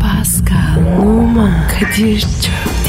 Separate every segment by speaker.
Speaker 1: Pascal, Oman, Kadir çok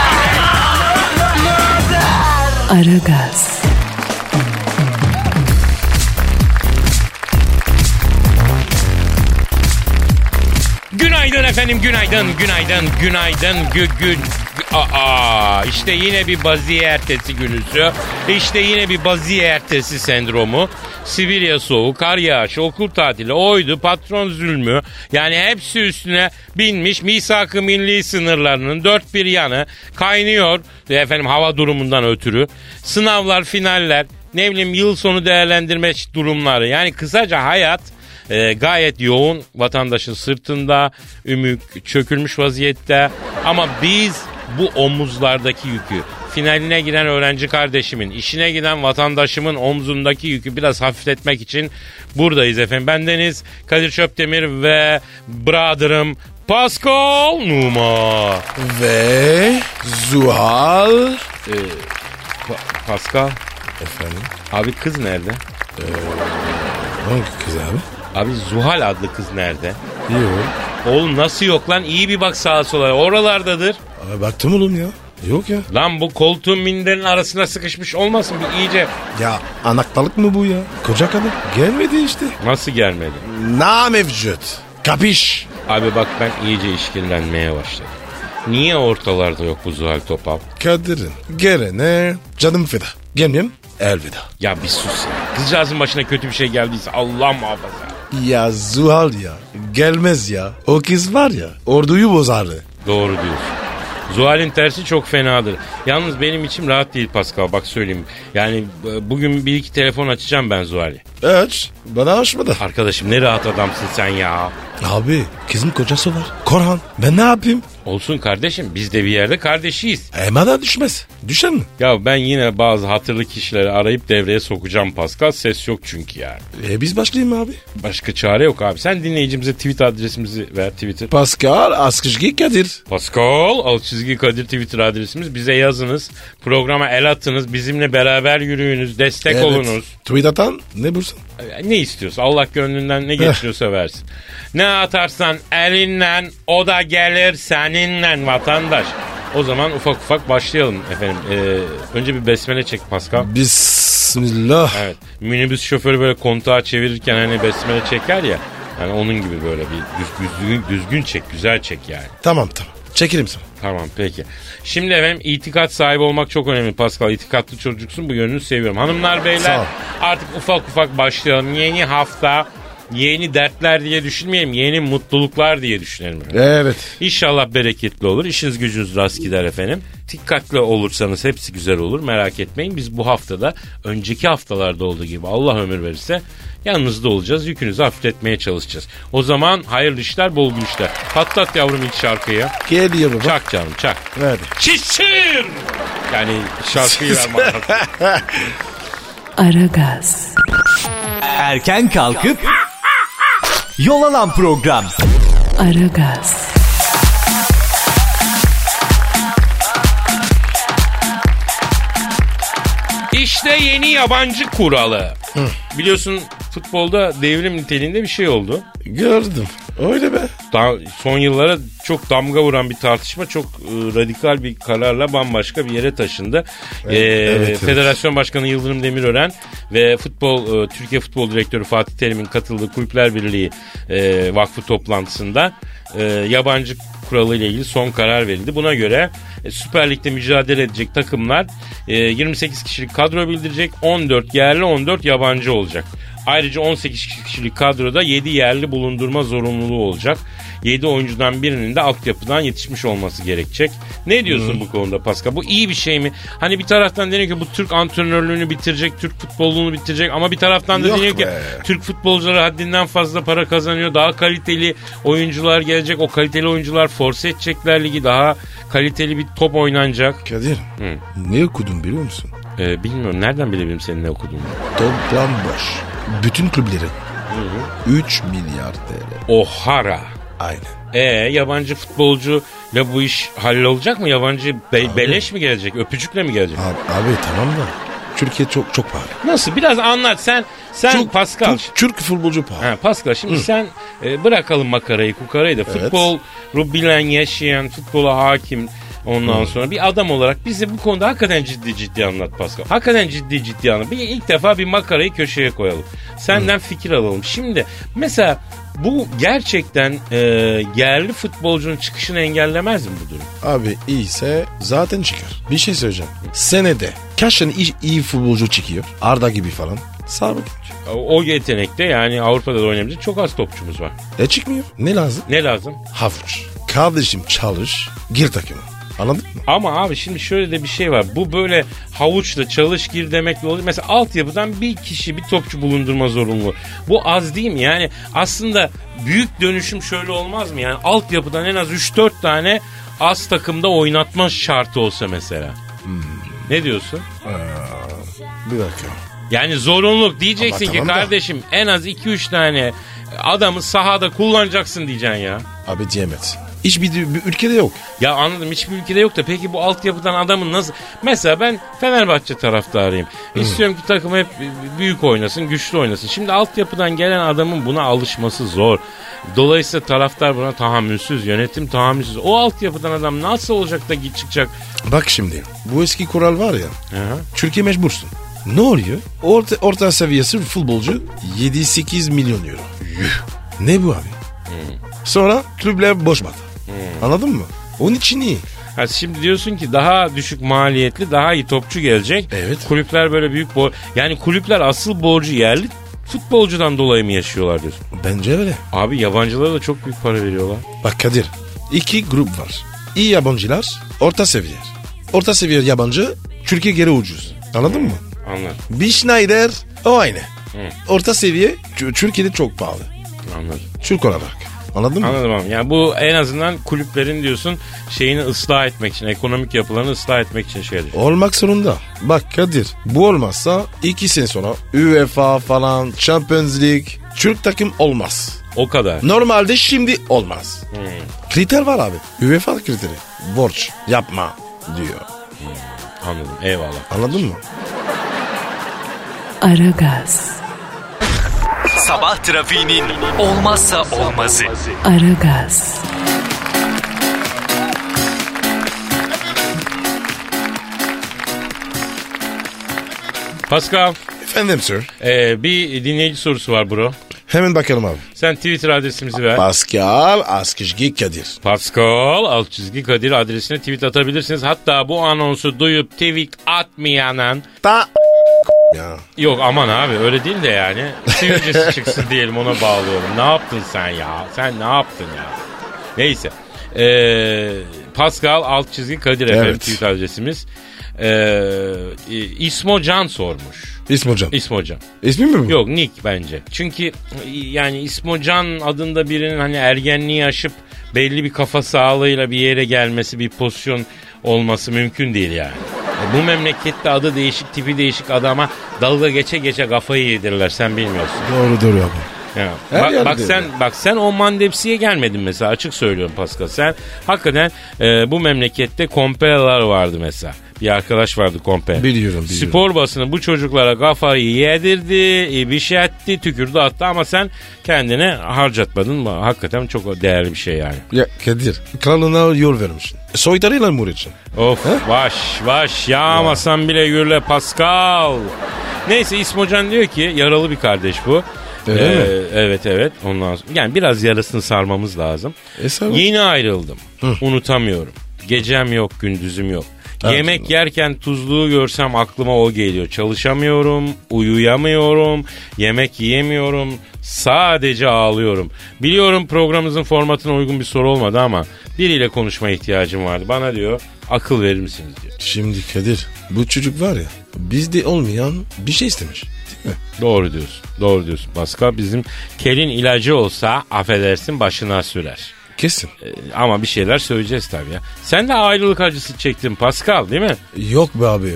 Speaker 1: Aragaz,
Speaker 2: Günaydın efendim, günaydın, günaydın, günaydın, gü, gün... gü- Aa, işte yine bir baziye ertesi günüsü. İşte yine bir baziye ertesi sendromu. Sibirya soğuğu, kar yağışı, okul tatili, oydu, patron zulmü. Yani hepsi üstüne binmiş misak-ı milli sınırlarının dört bir yanı kaynıyor. E, Efendim hava durumundan ötürü. Sınavlar, finaller, ne bileyim yıl sonu değerlendirme durumları. Yani kısaca hayat ee, gayet yoğun vatandaşın sırtında, ümük çökülmüş vaziyette. Ama biz bu omuzlardaki yükü, finaline giren öğrenci kardeşimin, işine giden vatandaşımın omzundaki yükü biraz hafifletmek için buradayız efendim. Bendeniz Kadir Çöptemir ve brother'ım Pascal Numa.
Speaker 3: Ve Zuhal.
Speaker 2: Pa- Pascal,
Speaker 3: Efendim?
Speaker 2: abi kız nerede?
Speaker 3: Hangi kız abi?
Speaker 2: Abi Zuhal adlı kız nerede?
Speaker 3: Yok.
Speaker 2: Oğlum nasıl yok lan? İyi bir bak sağa sola. Oralardadır.
Speaker 3: Abi baktım oğlum ya. Yok ya.
Speaker 2: Lan bu koltuğun minderin arasına sıkışmış olmasın bir iyice.
Speaker 3: Ya anaktalık mı bu ya? Koca kadın. Gelmedi işte.
Speaker 2: Nasıl gelmedi?
Speaker 3: Na mevcut. Kapiş.
Speaker 2: Abi bak ben iyice işkillenmeye başladım. Niye ortalarda yok bu Zuhal Topal?
Speaker 3: Kadir'in. Gelene canım feda. Gelmeyeyim elveda.
Speaker 2: Ya bir sus ya. Kızcağızın başına kötü bir şey geldiyse Allah muhafaza.
Speaker 3: Ya Zuhal ya. Gelmez ya. O kız var ya. Orduyu bozardı.
Speaker 2: Doğru diyorsun. Zuhal'in tersi çok fenadır. Yalnız benim içim rahat değil Pascal bak söyleyeyim. Yani e, bugün bir iki telefon açacağım ben Zuhal'e.
Speaker 3: Aç. Bana açmadı.
Speaker 2: Arkadaşım ne rahat adamsın sen ya.
Speaker 3: Abi kızın kocası var. Korhan. Ben ne yapayım?
Speaker 2: Olsun kardeşim biz de bir yerde kardeşiyiz.
Speaker 3: Hemen düşmez. Düşer mi?
Speaker 2: Ya ben yine bazı hatırlı kişileri arayıp devreye sokacağım Pascal. Ses yok çünkü ya.
Speaker 3: E biz başlayayım abi.
Speaker 2: Başka çare yok abi. Sen dinleyicimize tweet adresimizi ver Twitter.
Speaker 3: Pascal Askışgi Kadir.
Speaker 2: Pascal alt çizgi Kadir Twitter adresimiz. Bize yazınız. Programa el atınız. Bizimle beraber yürüyünüz. Destek olunuz.
Speaker 3: Tweet atan ne bulsun?
Speaker 2: Ne istiyorsa Allah gönlünden ne geçiyorsa versin. Ne atarsan elinden o da gelir seninle vatandaş. O zaman ufak ufak başlayalım efendim. Ee, önce bir besmele çek Pascal.
Speaker 3: Bismillah.
Speaker 2: Evet. Minibüs şoförü böyle kontağı çevirirken hani besmele çeker ya. Hani onun gibi böyle bir düz- düzgün, düzgün çek, güzel çek yani.
Speaker 3: Tamam tamam. Çekerim sana.
Speaker 2: Tamam peki. Şimdi efendim itikat sahibi olmak çok önemli Pascal. İtikatlı çocuksun bu yönünü seviyorum. Hanımlar beyler
Speaker 3: Sağ ol.
Speaker 2: artık ufak ufak başlayalım. Yeni hafta yeni dertler diye düşünmeyelim. Yeni mutluluklar diye düşünelim.
Speaker 3: Evet.
Speaker 2: İnşallah bereketli olur. İşiniz gücünüz rast gider efendim. Dikkatli olursanız hepsi güzel olur. Merak etmeyin. Biz bu haftada önceki haftalarda olduğu gibi Allah ömür verirse yanınızda olacağız. Yükünüzü hafifletmeye çalışacağız. O zaman hayırlı işler, bol işler. Patlat yavrum ilk şarkıyı.
Speaker 3: Geliyor baba.
Speaker 2: Çak canım çak.
Speaker 3: Hadi.
Speaker 2: Çişir! Yani şarkıyı vermem lazım.
Speaker 1: Aragaz,
Speaker 4: Erken kalkıp yol alan program.
Speaker 1: Aragaz,
Speaker 2: İşte yeni yabancı kuralı. Biliyorsun futbolda devrim niteliğinde bir şey oldu.
Speaker 3: Gördüm. Öyle be.
Speaker 2: Da- son yıllara çok damga vuran bir tartışma çok e, radikal bir kararla bambaşka bir yere taşındı. Ee,
Speaker 3: evet, evet.
Speaker 2: Federasyon Başkanı Yıldırım Demirören ve futbol e, Türkiye Futbol Direktörü Fatih Terim'in katıldığı Kulüpler Birliği e, Vakfı toplantısında e, yabancı kuralı ile ilgili son karar verildi. Buna göre e, Süper Lig'de mücadele edecek takımlar e, 28 kişilik kadro bildirecek. 14 yerli 14 yabancı olacak. Ayrıca 18 kişilik kadroda 7 yerli bulundurma zorunluluğu olacak. 7 oyuncudan birinin de altyapıdan yetişmiş olması gerekecek. Ne diyorsun bu konuda Pascal? Bu iyi bir şey mi? Hani bir taraftan deniyor ki bu Türk antrenörlüğünü bitirecek, Türk futbolunu bitirecek ama bir taraftan da
Speaker 3: Yok
Speaker 2: deniyor ki
Speaker 3: be.
Speaker 2: Türk futbolcuları haddinden fazla para kazanıyor. Daha kaliteli oyuncular gelecek. O kaliteli oyuncular force edecekler ligi. Daha kaliteli bir top oynanacak.
Speaker 3: Kadir ne okudun biliyor musun?
Speaker 2: Ee, bilmiyorum nereden bilebilirim senin ne okuduğunu.
Speaker 3: Toplam boş. Bütün kulüplerin 3 milyar TL.
Speaker 2: O'Hara.
Speaker 3: Aynen.
Speaker 2: Ee, yabancı futbolcuyla bu iş hallolacak mı? Yabancı be- beleş mi gelecek? Öpücükle mi gelecek?
Speaker 3: Abi, abi tamam da Türkiye çok çok pahalı.
Speaker 2: Nasıl? Biraz anlat sen. Sen
Speaker 3: Çok-
Speaker 2: Pascal.
Speaker 3: Türk, Türk futbolcu pahalı.
Speaker 2: Ha, Pascal şimdi sen e, bırakalım makarayı kukarayı da futbol bilen yaşayan futbola hakim ondan sonra bir adam olarak bize bu konuda hakikaten ciddi ciddi anlat Pascal. Hakikaten ciddi ciddi anlat. Bir, ilk defa bir makarayı köşeye koyalım. Senden fikir alalım. Şimdi mesela bu gerçekten e, yerli futbolcunun çıkışını engellemez mi bu durum?
Speaker 3: Abi iyiyse zaten çıkar. Bir şey söyleyeceğim. Senede kaç tane iyi, iyi futbolcu çıkıyor? Arda gibi falan. Sabit.
Speaker 2: O, o yetenekte yani Avrupa'da da oynayabilecek çok az topçumuz var.
Speaker 3: E çıkmıyor. Ne lazım?
Speaker 2: Ne lazım?
Speaker 3: Havuç. Kardeşim çalış. Gir takıma. Anladın mı?
Speaker 2: Ama abi şimdi şöyle de bir şey var. Bu böyle havuçla çalış gir demekle oluyor. Mesela altyapıdan bir kişi bir topçu bulundurma zorunlu. Bu az değil mi? Yani aslında büyük dönüşüm şöyle olmaz mı? Yani altyapıdan en az 3-4 tane az takımda oynatma şartı olsa mesela.
Speaker 3: Hmm.
Speaker 2: Ne diyorsun?
Speaker 3: Bir dakika.
Speaker 2: Yani zorunluluk diyeceksin
Speaker 3: Ama
Speaker 2: ki
Speaker 3: tamam da-
Speaker 2: kardeşim en az 2-3 tane adamı sahada kullanacaksın diyeceksin ya.
Speaker 3: Abi diyemez. Hiçbir bir ülkede yok.
Speaker 2: Ya anladım hiçbir ülkede yok da peki bu altyapıdan adamın nasıl... Mesela ben Fenerbahçe taraftarıyım. İstiyorum ki takım hep büyük oynasın, güçlü oynasın. Şimdi altyapıdan gelen adamın buna alışması zor. Dolayısıyla taraftar buna tahammülsüz, yönetim tahammülsüz. O altyapıdan adam nasıl olacak da git çıkacak?
Speaker 3: Bak şimdi bu eski kural var ya.
Speaker 2: Hı.
Speaker 3: Türkiye mecbursun. Ne oluyor? Orta, orta seviyesi bir futbolcu 7-8 milyon euro. Yuh. Ne bu abi? Hmm. Sonra kulüpler boş batı. Anladın mı? Onun için iyi.
Speaker 2: Ha, şimdi diyorsun ki daha düşük maliyetli, daha iyi topçu gelecek.
Speaker 3: Evet.
Speaker 2: Kulüpler böyle büyük... bor- yani kulüpler asıl borcu yerli futbolcudan dolayı mı yaşıyorlar diyorsun?
Speaker 3: Bence öyle.
Speaker 2: Abi yabancılara da çok büyük para veriyorlar.
Speaker 3: Bak Kadir iki grup var. İyi yabancılar orta seviye. Orta seviye yabancı Türkiye geri ucuz. Anladın mı?
Speaker 2: Anladım.
Speaker 3: Bir Schneider o aynı. Orta seviye Tü- Türkiye'de çok pahalı.
Speaker 2: Anladım.
Speaker 3: Türk olarak. Anladın mı?
Speaker 2: Anladım abi. Yani bu en azından kulüplerin diyorsun şeyini ıslah etmek için, ekonomik yapılarını ıslah etmek için şey şeydir.
Speaker 3: Olmak zorunda. Bak Kadir bu olmazsa iki sene sonra UEFA falan Champions League Türk takım olmaz.
Speaker 2: O kadar.
Speaker 3: Normalde şimdi olmaz. Kriter var abi. UEFA kriteri. Borç yapma diyor.
Speaker 2: Anladım. Eyvallah.
Speaker 3: Anladın mı?
Speaker 1: Aragaz,
Speaker 4: Sabah trafiğinin olmazsa olmazı.
Speaker 1: Aragaz,
Speaker 2: Pascal,
Speaker 3: Efendim sir.
Speaker 2: e, bir dinleyici sorusu var bro.
Speaker 3: Hemen bakalım abi.
Speaker 2: Sen Twitter adresimizi ver.
Speaker 3: Pascal Askışgi Kadir.
Speaker 2: Pascal alt çizgi Kadir adresine tweet atabilirsiniz. Hatta bu anonsu duyup tweet atmayanın
Speaker 3: Ta ya.
Speaker 2: Yok aman abi öyle değil de yani. Sivilcesi çıksın diyelim ona bağlıyorum. Ne yaptın sen ya? Sen ne yaptın ya? Neyse. Ee, Pascal alt çizgi Kadir efendim
Speaker 3: Evet.
Speaker 2: tweet adresimiz. Ee, e, İsmo Can sormuş.
Speaker 3: İsmi hocam.
Speaker 2: İsmo Can.
Speaker 3: İsmi mi bu?
Speaker 2: Yok Nick bence. Çünkü yani İsmo Can adında birinin hani ergenliği aşıp belli bir kafa sağlığıyla bir yere gelmesi, bir pozisyon olması mümkün değil yani. E, Bu memlekette adı değişik, tipi değişik adama dalga geçe geçe kafayı yedirler sen bilmiyorsun.
Speaker 3: Doğru doğru abi.
Speaker 2: Ya,
Speaker 3: Her
Speaker 2: bak,
Speaker 3: yerde
Speaker 2: bak sen bak sen o mandepsiye gelmedin mesela açık söylüyorum Pascal. Sen hakikaten e, bu memlekette kompeyalar vardı mesela. Bir arkadaş vardı kompe.
Speaker 3: Biliyorum, biliyorum.
Speaker 2: Spor basını bu çocuklara kafayı yedirdi, ibiş etti, tükürdü attı ama sen kendine harcatmadın. Bu Hakikaten çok değerli bir şey yani.
Speaker 3: Ya Kadir kralına yol vermişsin. Soytarıyla mı uğraşacaksın?
Speaker 2: Of vaş vaş yağmasan bile yürle Pascal. Neyse İsmocan diyor ki yaralı bir kardeş bu. E,
Speaker 3: Öyle mi?
Speaker 2: Evet evet ondan sonra, yani biraz yarasını sarmamız lazım.
Speaker 3: E, saralım.
Speaker 2: Yeni ayrıldım unutamıyorum gecem yok gündüzüm yok
Speaker 3: Evet.
Speaker 2: Yemek yerken tuzluğu görsem aklıma o geliyor. Çalışamıyorum, uyuyamıyorum, yemek yiyemiyorum, sadece ağlıyorum. Biliyorum programımızın formatına uygun bir soru olmadı ama biriyle konuşmaya ihtiyacım vardı. Bana diyor akıl verir misiniz diyor.
Speaker 3: Şimdi Kadir bu çocuk var ya bizde olmayan bir şey istemiş. Değil mi?
Speaker 2: Doğru diyorsun, doğru diyorsun. Pascal bizim kelin ilacı olsa affedersin başına sürer.
Speaker 3: Kesin.
Speaker 2: Ee, Ama bir şeyler söyleyeceğiz tabii ya. Sen de ayrılık acısı çektin Pascal değil mi?
Speaker 3: Yok be abi.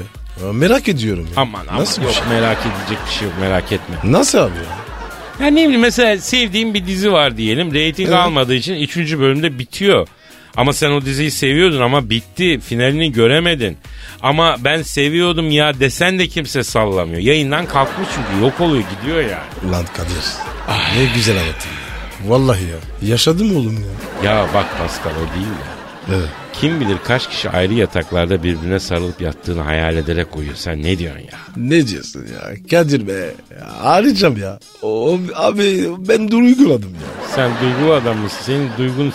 Speaker 3: Ya Merak ediyorum. Ya.
Speaker 2: Aman aman
Speaker 3: Nasıl
Speaker 2: yok
Speaker 3: bir şey?
Speaker 2: merak edecek bir şey yok merak etme.
Speaker 3: Nasıl abi ya?
Speaker 2: Ya ne bileyim mesela sevdiğim bir dizi var diyelim. Reyting
Speaker 3: Evet.
Speaker 2: almadığı için 3. bölümde bitiyor. Ama sen o diziyi seviyordun ama bitti. Finalini göremedin. Ama ben seviyordum ya desen de kimse sallamıyor. Yayından kalkmış çünkü yok oluyor gidiyor yani.
Speaker 3: Lan Kadir. Ne güzel anlattın. ya. Vallahi ya. Yaşadım oğlum ya.
Speaker 2: Ya bak Pascal o değil ya.
Speaker 3: Evet.
Speaker 2: Kim bilir kaç kişi ayrı yataklarda birbirine sarılıp yattığını hayal ederek uyuyor. Sen ne diyorsun ya?
Speaker 3: Ne diyorsun ya? Kadir be. Arayacağım ya. O, abi ben duyguladım ya.
Speaker 2: Sen duygulu adam mısın? Senin duygun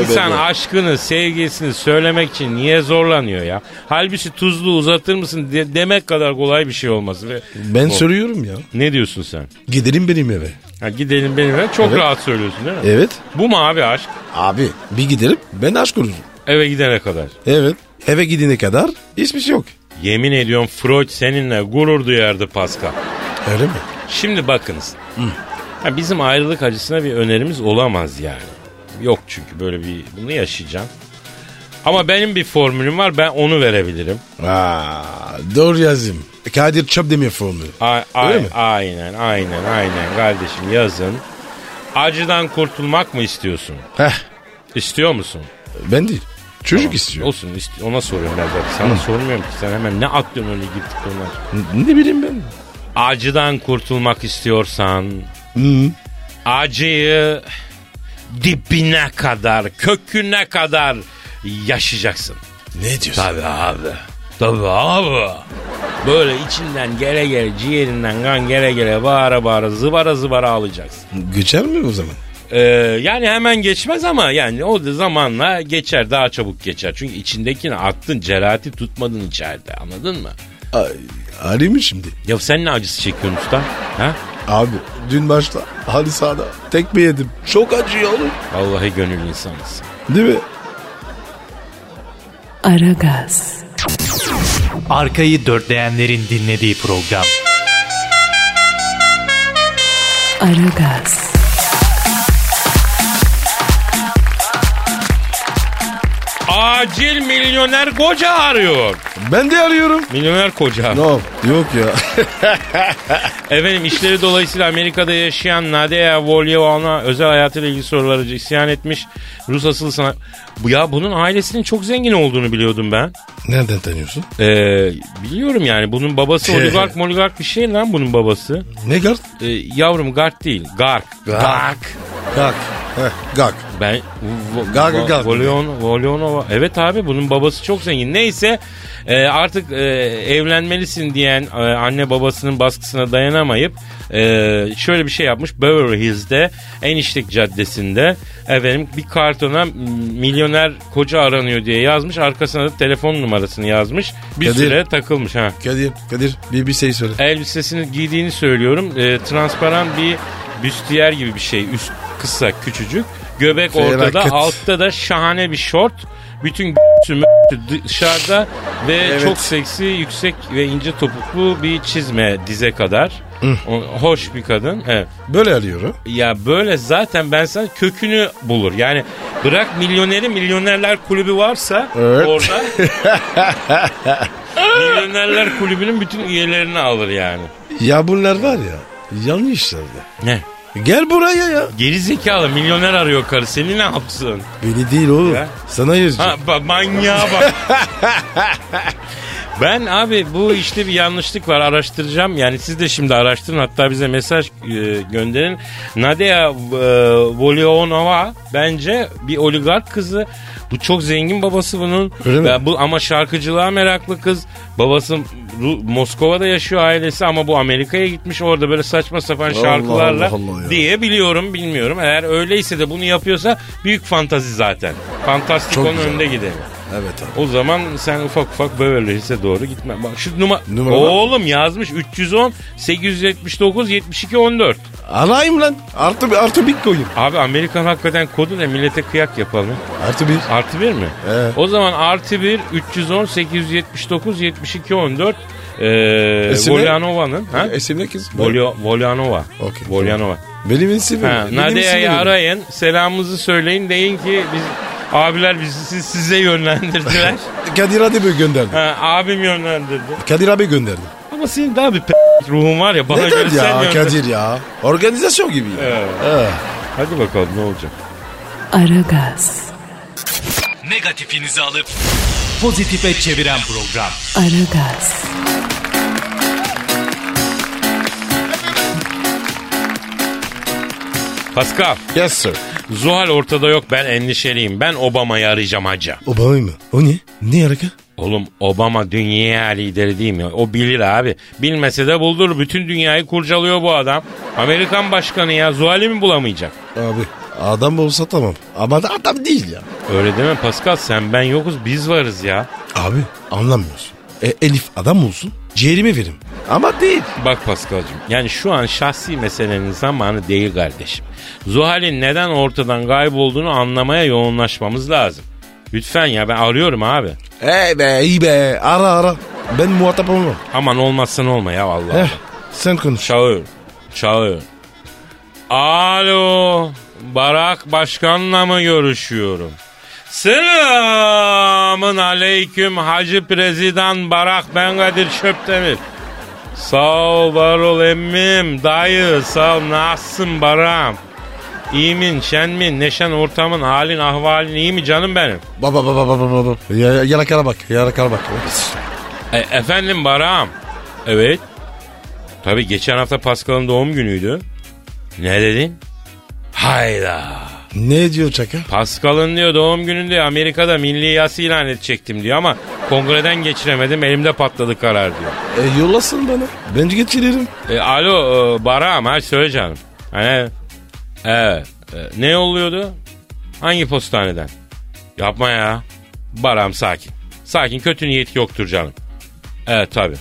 Speaker 2: İnsan aşkını, sevgisini söylemek için niye zorlanıyor ya? Halbuki tuzlu uzatır mısın de- demek kadar kolay bir şey olması. Ve
Speaker 3: Ben
Speaker 2: O-
Speaker 3: söylüyorum ya.
Speaker 2: Ne diyorsun sen?
Speaker 3: Gidelim benim eve.
Speaker 2: Ha, gidelim benim eve. Çok
Speaker 3: Evet.
Speaker 2: rahat söylüyorsun değil mi?
Speaker 3: Evet.
Speaker 2: Bu mu abi aşk?
Speaker 3: Abi bir gidelim ben aşk kururum.
Speaker 2: Eve gidene kadar.
Speaker 3: Evet. Eve gidene kadar hiçbir şey yok.
Speaker 2: Yemin ediyorum Freud seninle gurur duyardı Pascal.
Speaker 3: Öyle mi?
Speaker 2: Şimdi bakınız. Ha, bizim ayrılık acısına bir önerimiz olamaz yani. Yok çünkü böyle bir bunu yaşayacağım. Ama benim bir formülüm var ben onu verebilirim.
Speaker 3: Aa, doğru yazdım. Kadir Çöpdemir formülü.
Speaker 2: A-
Speaker 3: Öyle
Speaker 2: a-
Speaker 3: mi?
Speaker 2: Aynen aynen aynen kardeşim yazın. Acıdan kurtulmak mı istiyorsun?
Speaker 3: Heh,
Speaker 2: İstiyor musun?
Speaker 3: ben değil. Çocuk istiyor.
Speaker 2: Olsun ist- ona soruyorum ben zaten. Sana sormuyorum ki sen hemen ne atlıyorsun öyle girdik konular.
Speaker 3: Ne bileyim ben.
Speaker 2: Acıdan kurtulmak istiyorsan acıyı dibine kadar köküne kadar yaşayacaksın.
Speaker 3: Ne diyorsun?
Speaker 2: Tabii abi. Tabii abi. Böyle içinden gele gele ciğerinden kan gele gele bağıra bağıra zıvara zıvara alacaksın.
Speaker 3: Geçer mi o zaman?
Speaker 2: Ee, yani hemen geçmez ama yani o da zamanla geçer daha çabuk geçer. Çünkü içindekini attın cerahati tutmadın içeride anladın mı?
Speaker 3: Ay, arayayım mı şimdi?
Speaker 2: Ya sen ne acısı çekiyorsun usta? Ha?
Speaker 3: Abi dün maçta halı sahada tekme yedim. Çok acıyor oğlum.
Speaker 2: Vallahi gönül insanısın.
Speaker 3: Değil mi?
Speaker 1: Aragaz,
Speaker 4: Arkayı dörtleyenlerin dinlediği program.
Speaker 1: Aragaz,
Speaker 2: Acil milyoner koca arıyor.
Speaker 3: Ben de arıyorum.
Speaker 2: Milyoner koca.
Speaker 3: No, yok ya.
Speaker 2: Efendim işleri dolayısıyla Amerika'da yaşayan Nadia Volyeva'na özel hayatıyla ilgili soruları isyan etmiş. Rus asıllı sana... Bu Ya bunun ailesinin çok zengin olduğunu biliyordum ben.
Speaker 3: Nereden tanıyorsun?
Speaker 2: Ee, biliyorum yani bunun babası oligark moligark bir şey lan bunun babası.
Speaker 3: Ne gard?
Speaker 2: Ee, yavrum gark değil gark. Gark.
Speaker 3: Gak. Heh, gak.
Speaker 2: Ben
Speaker 3: Gark, gark.
Speaker 2: Volyon, Volyonova. Evet abi bunun babası çok zengin. Neyse e, artık e, evlenmelisin diyen e, anne babasının baskısına dayanamayıp e, şöyle bir şey yapmış. Beverly Hills'de Enişlik Caddesi'nde efendim bir kartona m, milyoner koca aranıyor diye yazmış. Arkasına da telefon numarasını yazmış. Bir
Speaker 3: Kadir.
Speaker 2: süre takılmış ha.
Speaker 3: Kadir, Kadir bir, bir şey söyle.
Speaker 2: Elbisesini giydiğini söylüyorum. E, transparan bir büstiyer gibi bir şey. Üst kısa küçücük. Göbek
Speaker 3: Felaket.
Speaker 2: ortada. Altta da şahane bir şort. Bütün sümü dışarıda ve
Speaker 3: Evet.
Speaker 2: çok seksi yüksek ve ince topuklu bir çizme dize kadar. O- Hoş bir kadın. Evet.
Speaker 3: Böyle arıyorum.
Speaker 2: Ya böyle zaten ben sana kökünü bulur. Yani bırak milyoneri milyonerler kulübü varsa
Speaker 3: Evet.
Speaker 2: orada milyonerler kulübünün bütün üyelerini alır yani.
Speaker 3: Ya bunlar var ya yanlış işlerde.
Speaker 2: Ne?
Speaker 3: Gel buraya ya.
Speaker 2: Geri zekalı milyoner arıyor karı. Seni ne yapsın?
Speaker 3: Beni değil oğlum.
Speaker 2: Ya.
Speaker 3: Sana
Speaker 2: Ha
Speaker 3: yazacağım.
Speaker 2: ba- manyağa bak. Ben abi bu işte bir yanlışlık var araştıracağım. Yani siz de şimdi araştırın hatta bize mesaj e, gönderin. Nadia e, Volionova bence bir oligark kızı. Bu çok zengin babası bunun.
Speaker 3: Öyle mi?
Speaker 2: Ya bu ama şarkıcılığa meraklı kız. Babası Ru- Moskova'da yaşıyor ailesi ama bu Amerika'ya gitmiş orada böyle saçma sapan
Speaker 3: Allah
Speaker 2: şarkılarla
Speaker 3: Allah Allah ya.
Speaker 2: diye biliyorum bilmiyorum. Eğer öyleyse de bunu yapıyorsa büyük fantazi zaten. Fantastik
Speaker 3: Çok
Speaker 2: onun
Speaker 3: güzel.
Speaker 2: önünde gideni.
Speaker 3: Evet abi.
Speaker 2: O zaman sen ufak ufak Beverly Hills'e doğru gitme. Bak şu numa
Speaker 3: Numara var mı?
Speaker 2: Oğlum yazmış 310 879 72 14.
Speaker 3: Arayayım lan. Artı, bir- artı bir koyayım.
Speaker 2: Abi Amerikan hakikaten kodu ne millete kıyak yapalım.
Speaker 3: Artı bir.
Speaker 2: Artı bir mi?
Speaker 3: Evet.
Speaker 2: O zaman artı bir 310 879 72 14 ee,
Speaker 3: Esime?
Speaker 2: Volyanova'nın. Ha?
Speaker 3: İsim E, ne kız?
Speaker 2: Volyo, Volyanova.
Speaker 3: Okey.
Speaker 2: Volyanova.
Speaker 3: Benim isim
Speaker 2: Ha,
Speaker 3: mi?
Speaker 2: Nadia'yı arayın. Selamımızı söyleyin. Deyin ki biz abiler bizi siz- size yönlendirdiler.
Speaker 3: Kadir abi gönderdi.
Speaker 2: ha, abim yönlendirdi.
Speaker 3: Kadir abi gönderdi.
Speaker 2: Ama senin daha bir p- ruhun var ya. Bana göre
Speaker 3: Neden
Speaker 2: sen
Speaker 3: ya
Speaker 2: yöntem-
Speaker 3: Kadir ya? Organizasyon gibi ya.
Speaker 2: Evet.
Speaker 3: Evet.
Speaker 2: Hadi bakalım ne olacak.
Speaker 1: Aragaz,
Speaker 4: Negatifinizi alıp pozitife çeviren program.
Speaker 1: Aragaz,
Speaker 2: Pascal,
Speaker 3: Yes sir.
Speaker 2: Zuhal ortada yok ben endişeliyim. Ben Obama'yı arayacağım hacı.
Speaker 3: Obama mı? O ne? Ne harika?
Speaker 2: Oğlum Obama dünya lideri değil mi? O bilir abi. Bilmese de buldur. Bütün dünyayı kurcalıyor bu adam. Amerikan başkanı ya. Zuhal'i mi bulamayacak?
Speaker 3: Abi adam olsa tamam. Ama da adam değil ya.
Speaker 2: Öyle deme Pascal. Sen ben yokuz biz varız ya.
Speaker 3: Abi anlamıyorsun. E, Elif adam olsun. Ciğerimi verim. Ama değil.
Speaker 2: Bak Paskal'cığım yani şu an şahsi meselenin zamanı değil kardeşim. Zuhal'in neden ortadan kaybolduğunu anlamaya yoğunlaşmamız lazım. Lütfen ya ben arıyorum abi.
Speaker 3: Ey be iyi be. Ara ara. Ben muhatap olmam.
Speaker 2: Aman olmazsan olma ya Allah. Allah.
Speaker 3: Heh, Eh, sen konuş.
Speaker 2: Çalıyor. Çalıyor. Alo. Barak Başkan'la mı görüşüyorum? Selamın aleyküm Hacı Prezidan Barak ben Kadir Çöptemir. Sağ ol var ol emmim dayı sağ ol nasılsın Barak'ım? İyi min şen min neşen ortamın halin ahvalin iyi mi canım benim?
Speaker 3: Baba baba baba baba. Ya, yarakara bak. Yarakara bak.
Speaker 2: E, efendim Barak'ım. Evet. Tabii geçen hafta Pascal'ın doğum günüydü. Ne dedin? Hayda.
Speaker 3: Ne diyor çaka?
Speaker 2: Pascal'ın diyor doğum gününde Amerika'da milli yas ilan edecektim diyor ama kongreden geçiremedim elimde patladı karar diyor.
Speaker 3: E, yollasın bana. Ben geçiririm.
Speaker 2: E, alo e, Barak'ım ha söyle canım. Hani, evet, e, ne oluyordu? Hangi postaneden? Yapma ya. Barak'ım sakin. Sakin kötü niyet yoktur canım. Evet tabi.